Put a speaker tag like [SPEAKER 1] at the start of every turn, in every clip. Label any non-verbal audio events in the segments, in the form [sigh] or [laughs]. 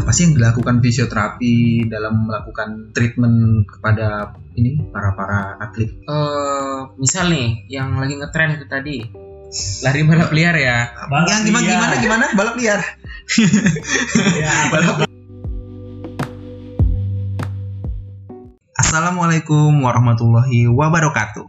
[SPEAKER 1] apa sih yang dilakukan fisioterapi dalam melakukan treatment kepada ini para para atlet?
[SPEAKER 2] Eh, misal nih yang lagi ngetren itu tadi lari balap liar ya.
[SPEAKER 3] Balap
[SPEAKER 1] yang gimana
[SPEAKER 3] liar.
[SPEAKER 1] gimana gimana balap liar? Iya,
[SPEAKER 3] Ya,
[SPEAKER 1] Assalamualaikum warahmatullahi wabarakatuh.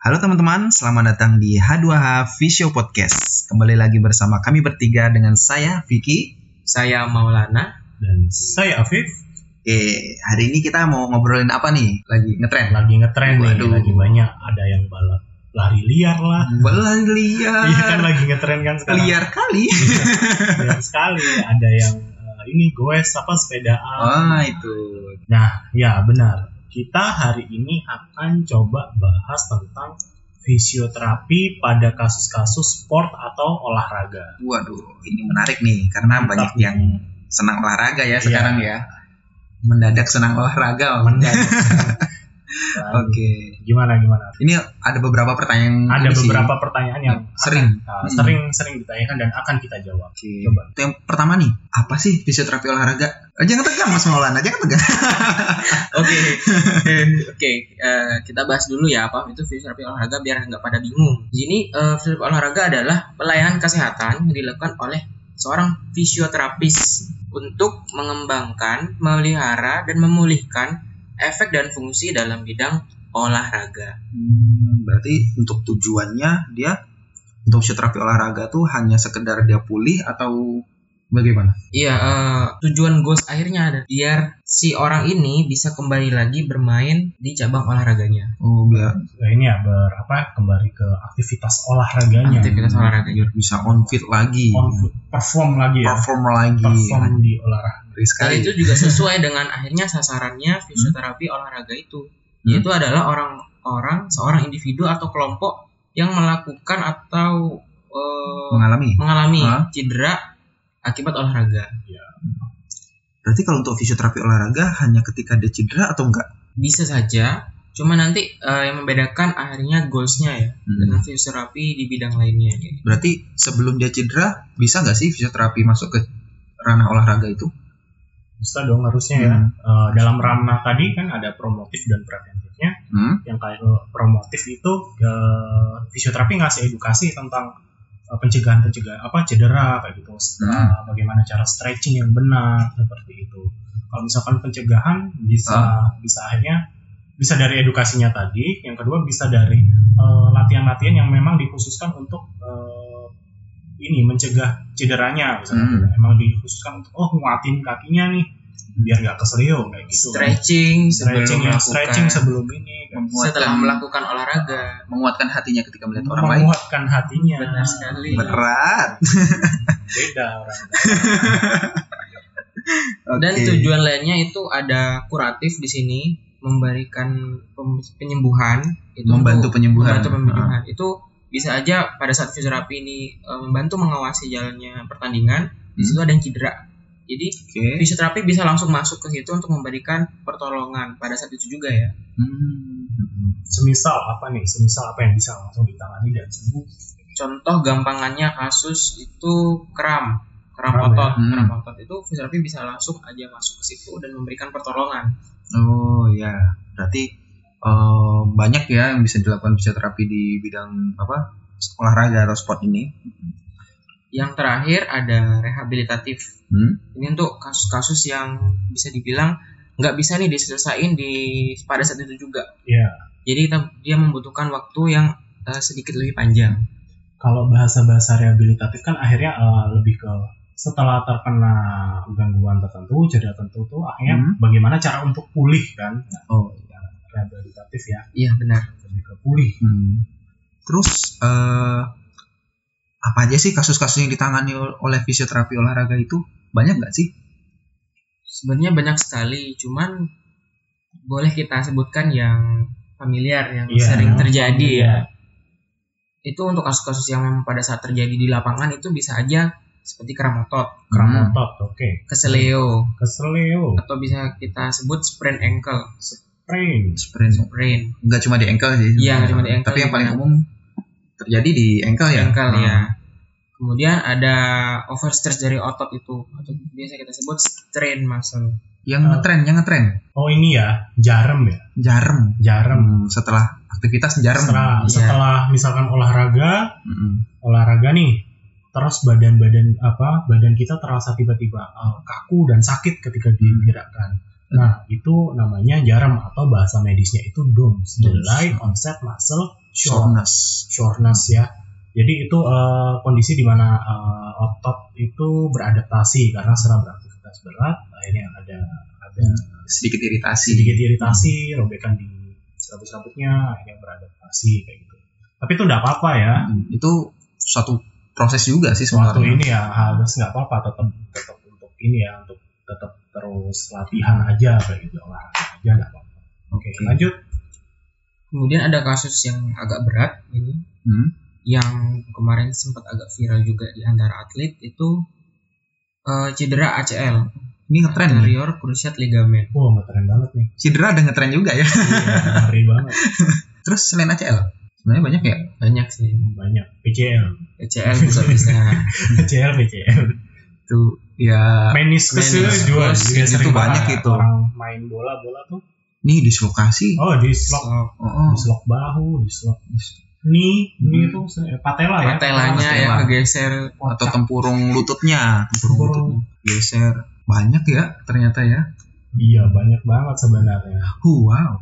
[SPEAKER 1] Halo teman-teman, selamat datang di H2H Visio Podcast. Kembali lagi bersama kami bertiga dengan saya Vicky.
[SPEAKER 2] Saya Maulana
[SPEAKER 3] dan saya Afif
[SPEAKER 1] Eh, hari ini kita mau ngobrolin apa nih? Lagi
[SPEAKER 3] [laughs]
[SPEAKER 1] ngetren.
[SPEAKER 3] lagi ngetren nih
[SPEAKER 1] Waduh.
[SPEAKER 3] lagi banyak ada yang balap lari liar lah
[SPEAKER 1] Balap
[SPEAKER 3] iya
[SPEAKER 1] liar.
[SPEAKER 3] kan lagi ngetren kan
[SPEAKER 1] Ah.
[SPEAKER 3] sekarang
[SPEAKER 1] liar kali.
[SPEAKER 3] Liar sekali ada yang eh, ini goes apa sepedaan
[SPEAKER 1] Ah, itu.
[SPEAKER 3] ya benar kita hari ini akan coba bahas tentang fisioterapi pada kasus-kasus sport atau olahraga
[SPEAKER 1] Waduh, ini menarik nih karena Ah, banyak yang senang olahraga ya
[SPEAKER 3] Iya.
[SPEAKER 1] sekarang ya. Mendadak senang olahraga. Om. [laughs]
[SPEAKER 3] mendadak
[SPEAKER 1] Oke.
[SPEAKER 3] Dan eh, gimana gimana
[SPEAKER 1] Ini ada beberapa pertanyaan
[SPEAKER 3] ada
[SPEAKER 1] ini sih.
[SPEAKER 3] beberapa pertanyaan yang
[SPEAKER 1] Sering. Hmm.
[SPEAKER 3] akan, eh, sering sering ditanyakan dan akan kita jawab
[SPEAKER 1] Oke.
[SPEAKER 3] Coba.
[SPEAKER 1] Itu yang pertama nih, apa sih fisioterapi olahraga? Eh, Jangan tegang Mas Maulana, jangan tegang.
[SPEAKER 2] Oke oke eh, kita bahas dulu ya apa itu fisioterapi olahraga biar nggak pada bingung. Di sini eh, fisioterapi olahraga adalah pelayanan kesehatan yang dilakukan oleh seorang fisioterapis untuk mengembangkan, memelihara dan memulihkan efek dan fungsi dalam bidang olahraga.
[SPEAKER 1] [laughs] Hmm, berarti untuk tujuannya dia untuk fisioterapi olahraga tuh hanya sekedar dia pulih atau bagaimana?
[SPEAKER 2] Iya, eh, tujuan goals akhirnya ada biar si orang ini bisa kembali lagi bermain di cabang olahraganya.
[SPEAKER 1] Oh, biar
[SPEAKER 3] Nah, ini ya berapa kembali ke aktivitas
[SPEAKER 1] Iya.
[SPEAKER 3] olahraganya
[SPEAKER 2] aktivitas gitu. olahraganya.
[SPEAKER 1] biar bisa on fit lagi.
[SPEAKER 3] On- perform lagi ya
[SPEAKER 1] Perform lagi.
[SPEAKER 3] perform di olahraga
[SPEAKER 1] Ngeri
[SPEAKER 2] Hal
[SPEAKER 1] sekali.
[SPEAKER 2] itu juga sesuai dengan akhirnya sasarannya fisioterapi olahraga itu,
[SPEAKER 1] Hmm.
[SPEAKER 2] yaitu adalah orang-orang seorang individu atau kelompok yang melakukan atau eh,
[SPEAKER 1] mengalami.
[SPEAKER 2] mengalami
[SPEAKER 1] Hah?
[SPEAKER 2] cedera akibat olahraga.
[SPEAKER 1] Berarti kalau untuk fisioterapi olahraga hanya ketika dia cedera atau enggak?
[SPEAKER 2] Bisa saja, cuma nanti eh, yang membedakan akhirnya goalsnya ya
[SPEAKER 1] Hmm.
[SPEAKER 2] dengan fisioterapi di bidang lainnya. gitu.
[SPEAKER 1] Berarti sebelum dia cedera bisa nggak sih fisioterapi masuk ke ranah olahraga itu?
[SPEAKER 3] bisa dong harusnya ya
[SPEAKER 1] Hmm.
[SPEAKER 3] Eh, dalam ranah tadi kan ada promotif dan preventifnya
[SPEAKER 1] Hmm?
[SPEAKER 3] yang kayak eh, promotif itu eh, fisioterapi ngasih edukasi tentang pencegahan pencegahan apa cedera kayak gitu Eh,
[SPEAKER 2] Hmm.
[SPEAKER 3] bagaimana cara stretching yang benar seperti itu kalau misalkan pencegahan bisa
[SPEAKER 2] Hmm.
[SPEAKER 3] bisa akhirnya bisa dari edukasinya tadi yang kedua bisa dari eh, latihan-latihan yang memang dikhususkan untuk eh, ini mencegah cederanya misalnya gitu.
[SPEAKER 1] Hmm.
[SPEAKER 3] emang dikhususkan untuk oh nguatin kakinya nih biar nggak keselio kayak gitu
[SPEAKER 2] Stretching, sebelum
[SPEAKER 3] stretching ya,
[SPEAKER 2] melakukan, Hmm.
[SPEAKER 3] stretching sebelum ini kayak
[SPEAKER 2] setelah melakukan olahraga.
[SPEAKER 1] menguatkan hatinya ketika melihat orang lain.
[SPEAKER 3] menguatkan hatinya
[SPEAKER 2] Benar sekali.
[SPEAKER 1] Berat.
[SPEAKER 3] beda orang
[SPEAKER 2] Dan
[SPEAKER 1] Oke.
[SPEAKER 2] tujuan lainnya itu ada kuratif di sini memberikan pem- penyembuhan itu
[SPEAKER 1] membantu
[SPEAKER 2] untuk-
[SPEAKER 1] penyembuhan. Ah,
[SPEAKER 2] membantu penyembuhan. Itu bisa aja pada saat fisioterapi ini eh, membantu mengawasi jalannya pertandingan, di
[SPEAKER 1] Hmm.
[SPEAKER 2] situ ada yang cedera. Jadi
[SPEAKER 1] Ah, Oke.
[SPEAKER 2] fisioterapi bisa langsung masuk ke situ untuk memberikan pertolongan pada saat itu juga ya.
[SPEAKER 1] Hmm.
[SPEAKER 3] semisal apa nih semisal apa yang bisa langsung ditangani dan sembuh
[SPEAKER 2] Contoh gampangannya kasus itu kram, kram
[SPEAKER 3] Kram ya.
[SPEAKER 2] otot,
[SPEAKER 1] Hmm.
[SPEAKER 2] kram otot itu fisioterapi bisa langsung aja masuk ke situ dan memberikan pertolongan.
[SPEAKER 1] Oh ya, berarti eh, banyak ya yang bisa dilakukan fisioterapi di bidang apa? olahraga atau sport ini.
[SPEAKER 2] Yang terakhir ada rehabilitatif.
[SPEAKER 1] Hmm?
[SPEAKER 2] ini untuk kasus-kasus yang bisa dibilang nggak bisa nih diselesain di pada saat itu juga.
[SPEAKER 3] Iya.
[SPEAKER 2] Jadi kita- dia membutuhkan waktu yang eh, sedikit lebih panjang.
[SPEAKER 3] kalau bahasa-bahasa rehabilitatif kan akhirnya eh, lebih ke setelah terkena gangguan tertentu, cedera tertentu tuh akhirnya
[SPEAKER 1] Hmm.
[SPEAKER 3] bagaimana cara untuk pulih kan?
[SPEAKER 1] Oh,
[SPEAKER 3] Rehabilitatif ya,
[SPEAKER 2] Iya benar.
[SPEAKER 3] lebih ke pulih.
[SPEAKER 1] Hmm. Terus eh apa aja sih kasus-kasus yang ditangani ol- oleh fisioterapi olahraga itu banyak nggak sih?
[SPEAKER 2] Sebenarnya banyak sekali, cuman boleh kita sebutkan yang familiar yang
[SPEAKER 3] Iya,
[SPEAKER 2] sering
[SPEAKER 3] yang
[SPEAKER 2] terjadi
[SPEAKER 3] familiar.
[SPEAKER 2] ya. Itu untuk kasus-kasus yang memang pada saat terjadi di lapangan itu bisa aja seperti kram otot,
[SPEAKER 3] Kram
[SPEAKER 1] Hmm.
[SPEAKER 3] otot, oke.
[SPEAKER 2] keseleo,
[SPEAKER 3] Keseleo,
[SPEAKER 2] atau bisa kita sebut sprain ankle,
[SPEAKER 3] sprain,
[SPEAKER 1] Sprint
[SPEAKER 2] sprain.
[SPEAKER 1] nggak cuma di ankle sih.
[SPEAKER 2] Iya, nggak cuma di ankle
[SPEAKER 1] Tapi yang
[SPEAKER 2] juga.
[SPEAKER 1] paling umum terjadi di ankle ya.
[SPEAKER 2] Ankle
[SPEAKER 1] Hmm.
[SPEAKER 2] ya. Kemudian ada overstretch dari otot itu atau biasa kita sebut strain muscle.
[SPEAKER 1] Yang ngetren, yang ngetren.
[SPEAKER 3] Oh ini ya, jarum ya,
[SPEAKER 1] Jarum.
[SPEAKER 3] jarum.
[SPEAKER 1] Hmm, setelah aktivitas jarum.
[SPEAKER 3] Setelah,
[SPEAKER 2] Iya.
[SPEAKER 3] setelah misalkan olahraga,
[SPEAKER 1] Mm-mm.
[SPEAKER 3] olahraga nih, terus badan-badan apa, badan kita terasa tiba-tiba eh, kaku dan sakit ketika digerakkan. Nah itu namanya jarum atau bahasa medisnya itu DOMS, Delay Onset Muscle Soreness.
[SPEAKER 1] Soreness.
[SPEAKER 3] soreness ya. Jadi itu eh, kondisi di mana eh, otot itu beradaptasi karena setelah beraktivitas berat akhirnya ada ada
[SPEAKER 1] Sedikit iritasi.
[SPEAKER 3] sedikit iritasi, robekan di serabut serabutnya akhirnya beradaptasi kayak gitu. Tapi itu nggak apa-apa ya.
[SPEAKER 1] Hmm, Itu suatu proses juga sih
[SPEAKER 3] Waktu
[SPEAKER 1] sebenarnya.
[SPEAKER 3] ini ya harus nggak apa-apa tetap tetap untuk ini ya untuk tetap terus latihan aja kayak gitu olahraga aja nggak apa-apa. Oke
[SPEAKER 1] Oke.
[SPEAKER 3] lanjut.
[SPEAKER 2] Kemudian ada kasus yang agak berat ini
[SPEAKER 1] Hmm.
[SPEAKER 2] yang kemarin sempat agak viral juga di antara atlet itu eh, cedera ACL,
[SPEAKER 1] Ini ngetren. nih.
[SPEAKER 2] anterior cruciate ligament.
[SPEAKER 3] Wah ngetren banget
[SPEAKER 1] [laughs]
[SPEAKER 3] nih.
[SPEAKER 1] Cedera ada ngetren juga ya. [laughs]
[SPEAKER 3] Iya, ngeri banget.
[SPEAKER 1] Terus selain ACL, sebenarnya banyak ya.
[SPEAKER 2] Banyak sih
[SPEAKER 3] Banyak. PCL.
[SPEAKER 2] ACL juga
[SPEAKER 1] [laughs]
[SPEAKER 2] bisa.
[SPEAKER 3] PCL, PCL.
[SPEAKER 1] Itu ya
[SPEAKER 3] meniskus itu
[SPEAKER 2] Meniskus,
[SPEAKER 3] juga
[SPEAKER 1] itu
[SPEAKER 3] juga sering
[SPEAKER 1] banyak
[SPEAKER 3] banget
[SPEAKER 1] itu.
[SPEAKER 3] orang main bola bola tuh
[SPEAKER 1] nih dislokasi.
[SPEAKER 3] oh dislok
[SPEAKER 2] So,
[SPEAKER 1] Oh, oh.
[SPEAKER 3] dislok bahu dislok ini ini
[SPEAKER 1] Hmm.
[SPEAKER 3] itu sering- patella ya
[SPEAKER 2] patelanya
[SPEAKER 1] patella.
[SPEAKER 2] ya kegeser
[SPEAKER 1] atau tempurung lututnya, tempurung
[SPEAKER 3] Tempurung.
[SPEAKER 1] lututnya. Geser. Banyak ya ternyata ya.
[SPEAKER 3] iya banyak banget sebenarnya
[SPEAKER 1] Huh, Wow.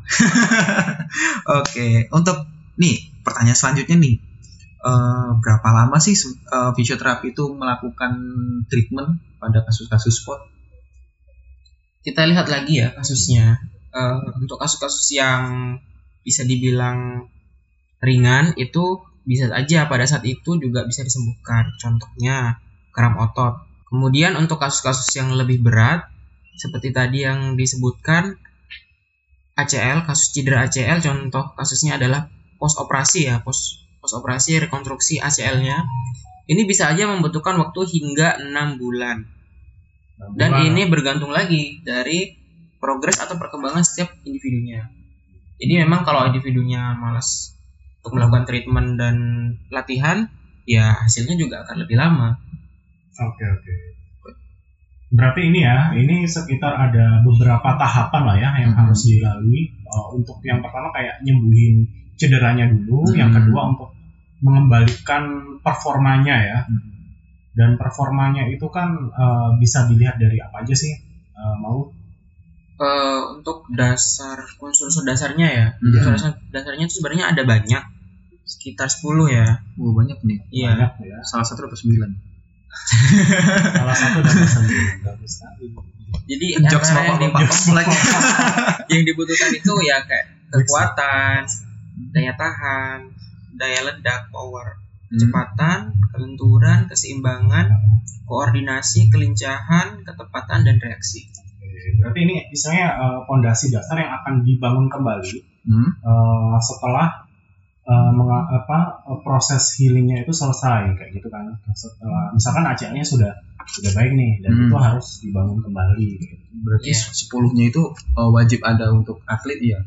[SPEAKER 1] [laughs] Oke, untuk nih pertanyaan selanjutnya nih. Eh, berapa lama sih se- eh, fisioterapi itu melakukan treatment pada kasus-kasus sport?
[SPEAKER 2] kita lihat lagi ya kasusnya Eh, untuk kasus-kasus yang bisa dibilang ringan itu bisa aja pada saat itu juga bisa disembuhkan contohnya kram otot kemudian untuk kasus-kasus yang lebih berat seperti tadi yang disebutkan ACL kasus cedera ACL contoh kasusnya adalah post operasi ya post post operasi rekonstruksi ACL-nya ini bisa aja membutuhkan waktu hingga enam bulan
[SPEAKER 3] Nah,
[SPEAKER 2] dan
[SPEAKER 3] bola-
[SPEAKER 2] ini bergantung lagi dari progres atau perkembangan setiap individunya. Jadi memang kalau individunya malas untuk melakukan treatment dan latihan, ya hasilnya juga akan lebih lama.
[SPEAKER 3] oke oke berarti ini ya ini sekitar ada beberapa tahapan lah ya yang
[SPEAKER 1] Hmm.
[SPEAKER 3] harus dilalui Uh, untuk yang pertama kayak nyembuhin cederanya dulu yang
[SPEAKER 1] Hmm.
[SPEAKER 3] kedua untuk mengembalikan performanya ya dan performanya itu kan eh, bisa dilihat dari apa aja sih Eh, mau
[SPEAKER 2] Eh, untuk dasar unsur-unsur dasarnya ya,
[SPEAKER 1] Iya.
[SPEAKER 2] unsur dasarnya itu sebenarnya ada banyak, sekitar 10 ya.
[SPEAKER 1] Wah, oh, banyak nih.
[SPEAKER 2] Iya.
[SPEAKER 3] banyak ya
[SPEAKER 1] Salah satu atau sembilan?
[SPEAKER 3] salah satu dan sendiri bagus sekali
[SPEAKER 2] Jadi
[SPEAKER 1] Jokes
[SPEAKER 2] antara yang,
[SPEAKER 1] bapak-bapak
[SPEAKER 3] Jokes
[SPEAKER 1] lagi.
[SPEAKER 2] di- yang dibutuhkan itu ya kayak kekuatan, daya tahan, daya ledak, power.
[SPEAKER 1] Hmm.
[SPEAKER 2] kecepatan, kelenturan, keseimbangan, koordinasi, kelincahan, ketepatan, dan reaksi.
[SPEAKER 3] berarti ini misalnya pondasi dasar yang akan dibangun kembali
[SPEAKER 1] Hmm.
[SPEAKER 3] eh, setelah eh, menga- apa eh, proses healingnya itu selesai kayak gitu kan setelah misalkan ACL-nya sudah sudah baik nih dan
[SPEAKER 1] Hmm.
[SPEAKER 3] itu harus dibangun kembali gitu.
[SPEAKER 1] Berarti
[SPEAKER 2] Iya.
[SPEAKER 1] sepuluhnya itu eh, wajib ada untuk atlet ya.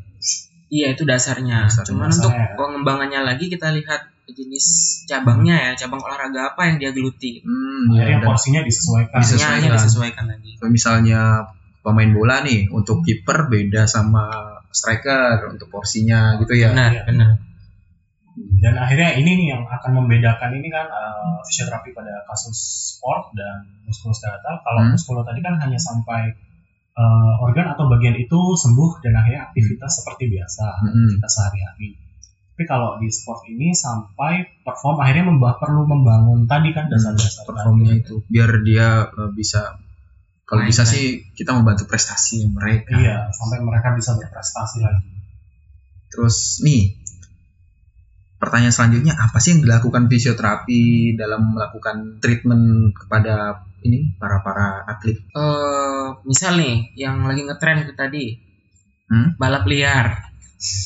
[SPEAKER 2] Iya, itu dasarnya.
[SPEAKER 1] Dasar-
[SPEAKER 2] Cuman
[SPEAKER 3] dasarnya
[SPEAKER 2] untuk
[SPEAKER 3] ya.
[SPEAKER 2] pengembangannya lagi kita lihat jenis cabangnya ya, cabang olahraga apa yang dia geluti.
[SPEAKER 1] Hmm, ya,
[SPEAKER 3] akhirnya
[SPEAKER 1] ada.
[SPEAKER 3] porsinya disesuaikan
[SPEAKER 1] Bisa
[SPEAKER 2] Hanya hanya
[SPEAKER 1] Disesuaikan.
[SPEAKER 2] disesuaikan lagi.
[SPEAKER 1] Kalau misalnya pemain bola nih untuk kiper beda sama striker untuk porsinya gitu ya.
[SPEAKER 2] Benar,
[SPEAKER 3] Iya.
[SPEAKER 2] benar.
[SPEAKER 3] dan akhirnya ini nih yang akan membedakan ini kan eh, fisioterapi pada kasus sport dan muskuloskeletal kalau
[SPEAKER 1] Hmm.
[SPEAKER 3] muskulo tadi kan hanya sampai eh, organ atau bagian itu sembuh dan akhirnya aktivitas seperti biasa
[SPEAKER 1] Mm-mm.
[SPEAKER 3] aktivitas sehari-hari tapi kalau di sport ini sampai perform akhirnya memba- perlu membangun tadi kan dasar-dasar
[SPEAKER 1] performnya
[SPEAKER 3] tadi.
[SPEAKER 1] itu biar dia eh, bisa kalau
[SPEAKER 2] Main,
[SPEAKER 1] bisa
[SPEAKER 2] main.
[SPEAKER 1] sih kita membantu prestasi mereka
[SPEAKER 3] iya sampai mereka bisa berprestasi lagi
[SPEAKER 1] terus nih pertanyaan selanjutnya apa sih yang dilakukan fisioterapi dalam melakukan treatment kepada ini para para atlet
[SPEAKER 2] Eh, misal nih yang lagi ngetren itu tadi.
[SPEAKER 1] Hmm?
[SPEAKER 2] Balap liar.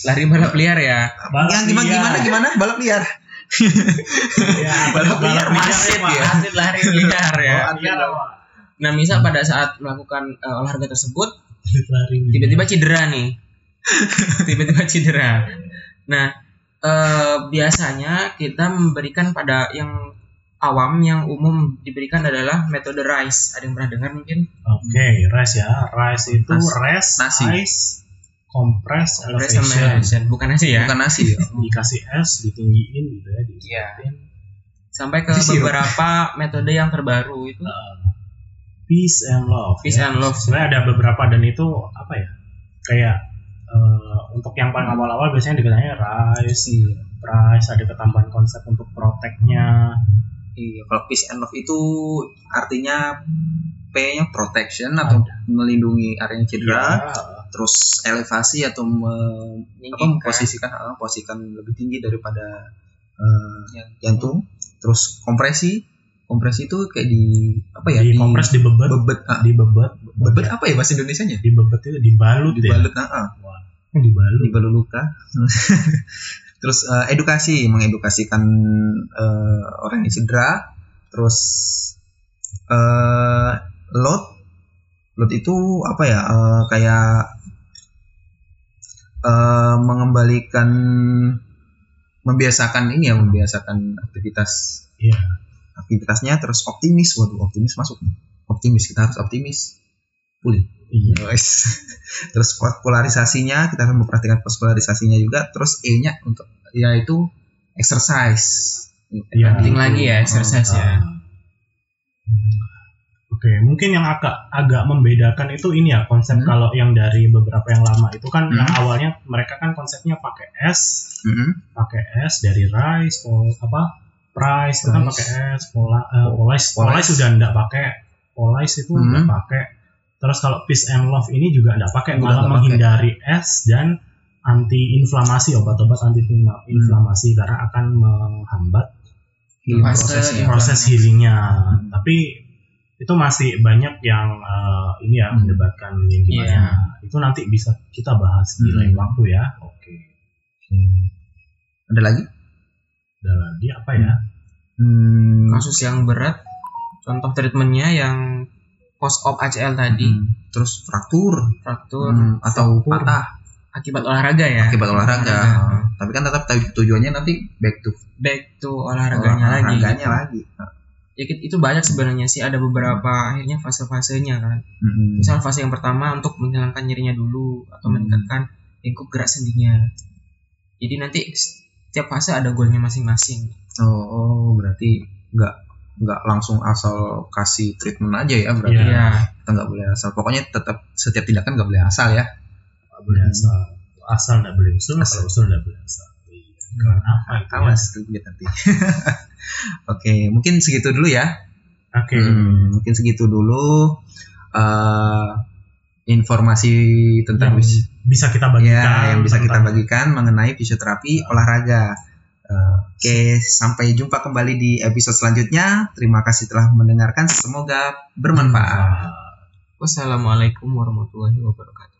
[SPEAKER 2] Lari balap liar ya.
[SPEAKER 3] Balap
[SPEAKER 1] yang gimana
[SPEAKER 3] liar.
[SPEAKER 1] gimana gimana balap liar
[SPEAKER 3] Iya, [laughs] Iya.
[SPEAKER 1] Balap liar Oh. masif
[SPEAKER 3] Pak.
[SPEAKER 1] ya.
[SPEAKER 2] Atlet lari liar
[SPEAKER 1] [laughs]
[SPEAKER 2] ya.
[SPEAKER 3] Balap liar, Pak.
[SPEAKER 2] Nah, misal pada saat melakukan eh, olahraga tersebut
[SPEAKER 3] Atlet lari.
[SPEAKER 2] tiba-tiba cedera nih [laughs] tiba-tiba cedera nah eh, biasanya kita memberikan pada yang awam yang umum diberikan adalah metode RICE. Ada yang pernah dengar mungkin?
[SPEAKER 3] Oke, rice ya. Rice itu
[SPEAKER 1] Nasi.
[SPEAKER 3] rest,
[SPEAKER 1] Nasi.
[SPEAKER 3] ice, compress,
[SPEAKER 2] Rice sama
[SPEAKER 3] elevation.
[SPEAKER 2] elevation. Bukan nasi ya?
[SPEAKER 1] bukan nasi
[SPEAKER 3] Iya.
[SPEAKER 1] ya.
[SPEAKER 3] Dikasih es, ditinggiin gitu ya. Di
[SPEAKER 2] Iya. Sampai
[SPEAKER 1] [laughs]
[SPEAKER 2] ke
[SPEAKER 1] Nasi sirup.
[SPEAKER 2] beberapa metode yang terbaru itu.
[SPEAKER 3] Uh, peace and love. ya.
[SPEAKER 2] Peace and love.
[SPEAKER 3] Sebenarnya ada beberapa dan itu apa ya? Kayak eh, untuk yang paling awal-awal biasanya dikatanya rice, rice ada ketambahan konsep untuk proteknya.
[SPEAKER 1] Iya, kalau peace and love itu artinya P-nya protection atau melindungi area yang cedera,
[SPEAKER 3] Iya.
[SPEAKER 1] terus elevasi atau me- apa,
[SPEAKER 3] kan
[SPEAKER 2] Meninggikan.
[SPEAKER 1] memposisikan ah, posisikan lebih tinggi daripada eh, jantung, terus kompresi, kompresi itu kayak di apa ya?
[SPEAKER 3] di kompres, di bebet,
[SPEAKER 1] bebet, ah,
[SPEAKER 3] di bebet,
[SPEAKER 1] bebet apa ya bahasa Indonesianya?
[SPEAKER 3] di bebet itu dibalut, ya. Oh,
[SPEAKER 1] Dibalut, ah, ah,
[SPEAKER 3] Dibalut.
[SPEAKER 1] dibalut luka. [laughs] terus eh, edukasi, mengedukasikan eh, orang yang cedera, terus eh load, load itu apa ya? eh, kayak eh, mengembalikan, membiasakan ini ya, membiasakan aktivitas
[SPEAKER 3] Iya.
[SPEAKER 1] aktivitasnya, terus optimis, waduh optimis masuk, nih. optimis kita harus optimis, pulih.
[SPEAKER 3] Iya.
[SPEAKER 1] Guys. Terus polarisasinya kita akan memperhatikan polarisasinya juga. Terus E-nya untuk yaitu exercise.
[SPEAKER 3] Iya.
[SPEAKER 2] Penting lagi ya exercise ya.
[SPEAKER 3] Hmm. Oke, mungkin yang agak agak membedakan itu ini ya konsep
[SPEAKER 1] Hmm.
[SPEAKER 3] kalau yang dari beberapa yang lama itu kan
[SPEAKER 1] Hmm.
[SPEAKER 3] yang awalnya mereka kan konsepnya pakai es,
[SPEAKER 1] Mhm.
[SPEAKER 3] pakai es dari rice, pol, apa rice itu kan
[SPEAKER 1] Rice.
[SPEAKER 3] pakai es, pola eh, police,
[SPEAKER 1] Police.
[SPEAKER 3] police sudah nggak pakai, police itu
[SPEAKER 1] Hmm.
[SPEAKER 3] nggak pakai. Terus kalau peace and love ini juga nggak pakai,
[SPEAKER 1] Udah
[SPEAKER 3] malah
[SPEAKER 1] nggak
[SPEAKER 3] menghindari es dan anti-inflamasi obat-obat anti-inflamasi karena akan menghambat
[SPEAKER 1] Healing
[SPEAKER 2] Fase
[SPEAKER 1] prosesnya.
[SPEAKER 2] yang-
[SPEAKER 3] proses healingnya tapi itu masih banyak yang eh, ini ya
[SPEAKER 1] Hmm.
[SPEAKER 3] mendebatkan yang gimana
[SPEAKER 2] Iya.
[SPEAKER 3] itu nanti bisa kita bahas di
[SPEAKER 1] Hmm.
[SPEAKER 3] lain waktu ya oke
[SPEAKER 1] Ada lagi?
[SPEAKER 3] ada lagi apa ya
[SPEAKER 1] Hmm,
[SPEAKER 2] Kasus yang berat. Contoh treatmentnya yang post op ACL tadi,
[SPEAKER 1] hmm. Terus fraktur
[SPEAKER 2] fraktur
[SPEAKER 1] hmm, atau
[SPEAKER 3] Fraktur.
[SPEAKER 1] patah
[SPEAKER 2] akibat olahraga ya. Nah,
[SPEAKER 1] akibat olahraga. Tapi kan tetap tuj- tujuannya nanti back to
[SPEAKER 2] Back to olahraganya lagi.
[SPEAKER 1] olahraganya lagi.
[SPEAKER 2] Ya itu banyak sebenarnya sih ada beberapa akhirnya fase-fasenya kan.
[SPEAKER 1] Mhm.
[SPEAKER 2] Misal fase yang pertama untuk menghilangkan nyerinya dulu atau
[SPEAKER 1] Hmm.
[SPEAKER 2] meningkatkan lingkup gerak sendinya. Jadi nanti setiap fase ada golnya masing-masing.
[SPEAKER 1] Oh, oh, berarti nggak nggak langsung asal kasih treatment aja ya berarti
[SPEAKER 3] Iya.
[SPEAKER 1] kita nggak boleh asal pokoknya tetap setiap tindakan nggak boleh asal ya
[SPEAKER 3] Nggak boleh
[SPEAKER 1] Hmm.
[SPEAKER 3] asal asal nggak boleh usul
[SPEAKER 1] Asal.
[SPEAKER 3] kalau usul nggak boleh asal Iya. karena apa itu ya?
[SPEAKER 1] awas tuh lihat nanti [laughs] oke mungkin segitu dulu ya
[SPEAKER 3] oke
[SPEAKER 1] Hmm, mungkin segitu dulu eh informasi
[SPEAKER 3] Yang
[SPEAKER 1] tentang fis-
[SPEAKER 3] bisa kita
[SPEAKER 1] ya,
[SPEAKER 3] bagikan
[SPEAKER 1] yang bisa kita Iya.
[SPEAKER 3] tentang-
[SPEAKER 1] bagikan mengenai fisioterapi olahraga Eh, oke sampai jumpa kembali di episode selanjutnya terima kasih telah mendengarkan semoga bermanfaat
[SPEAKER 3] Ah.
[SPEAKER 2] Wassalamualaikum warahmatullahi wabarakatuh.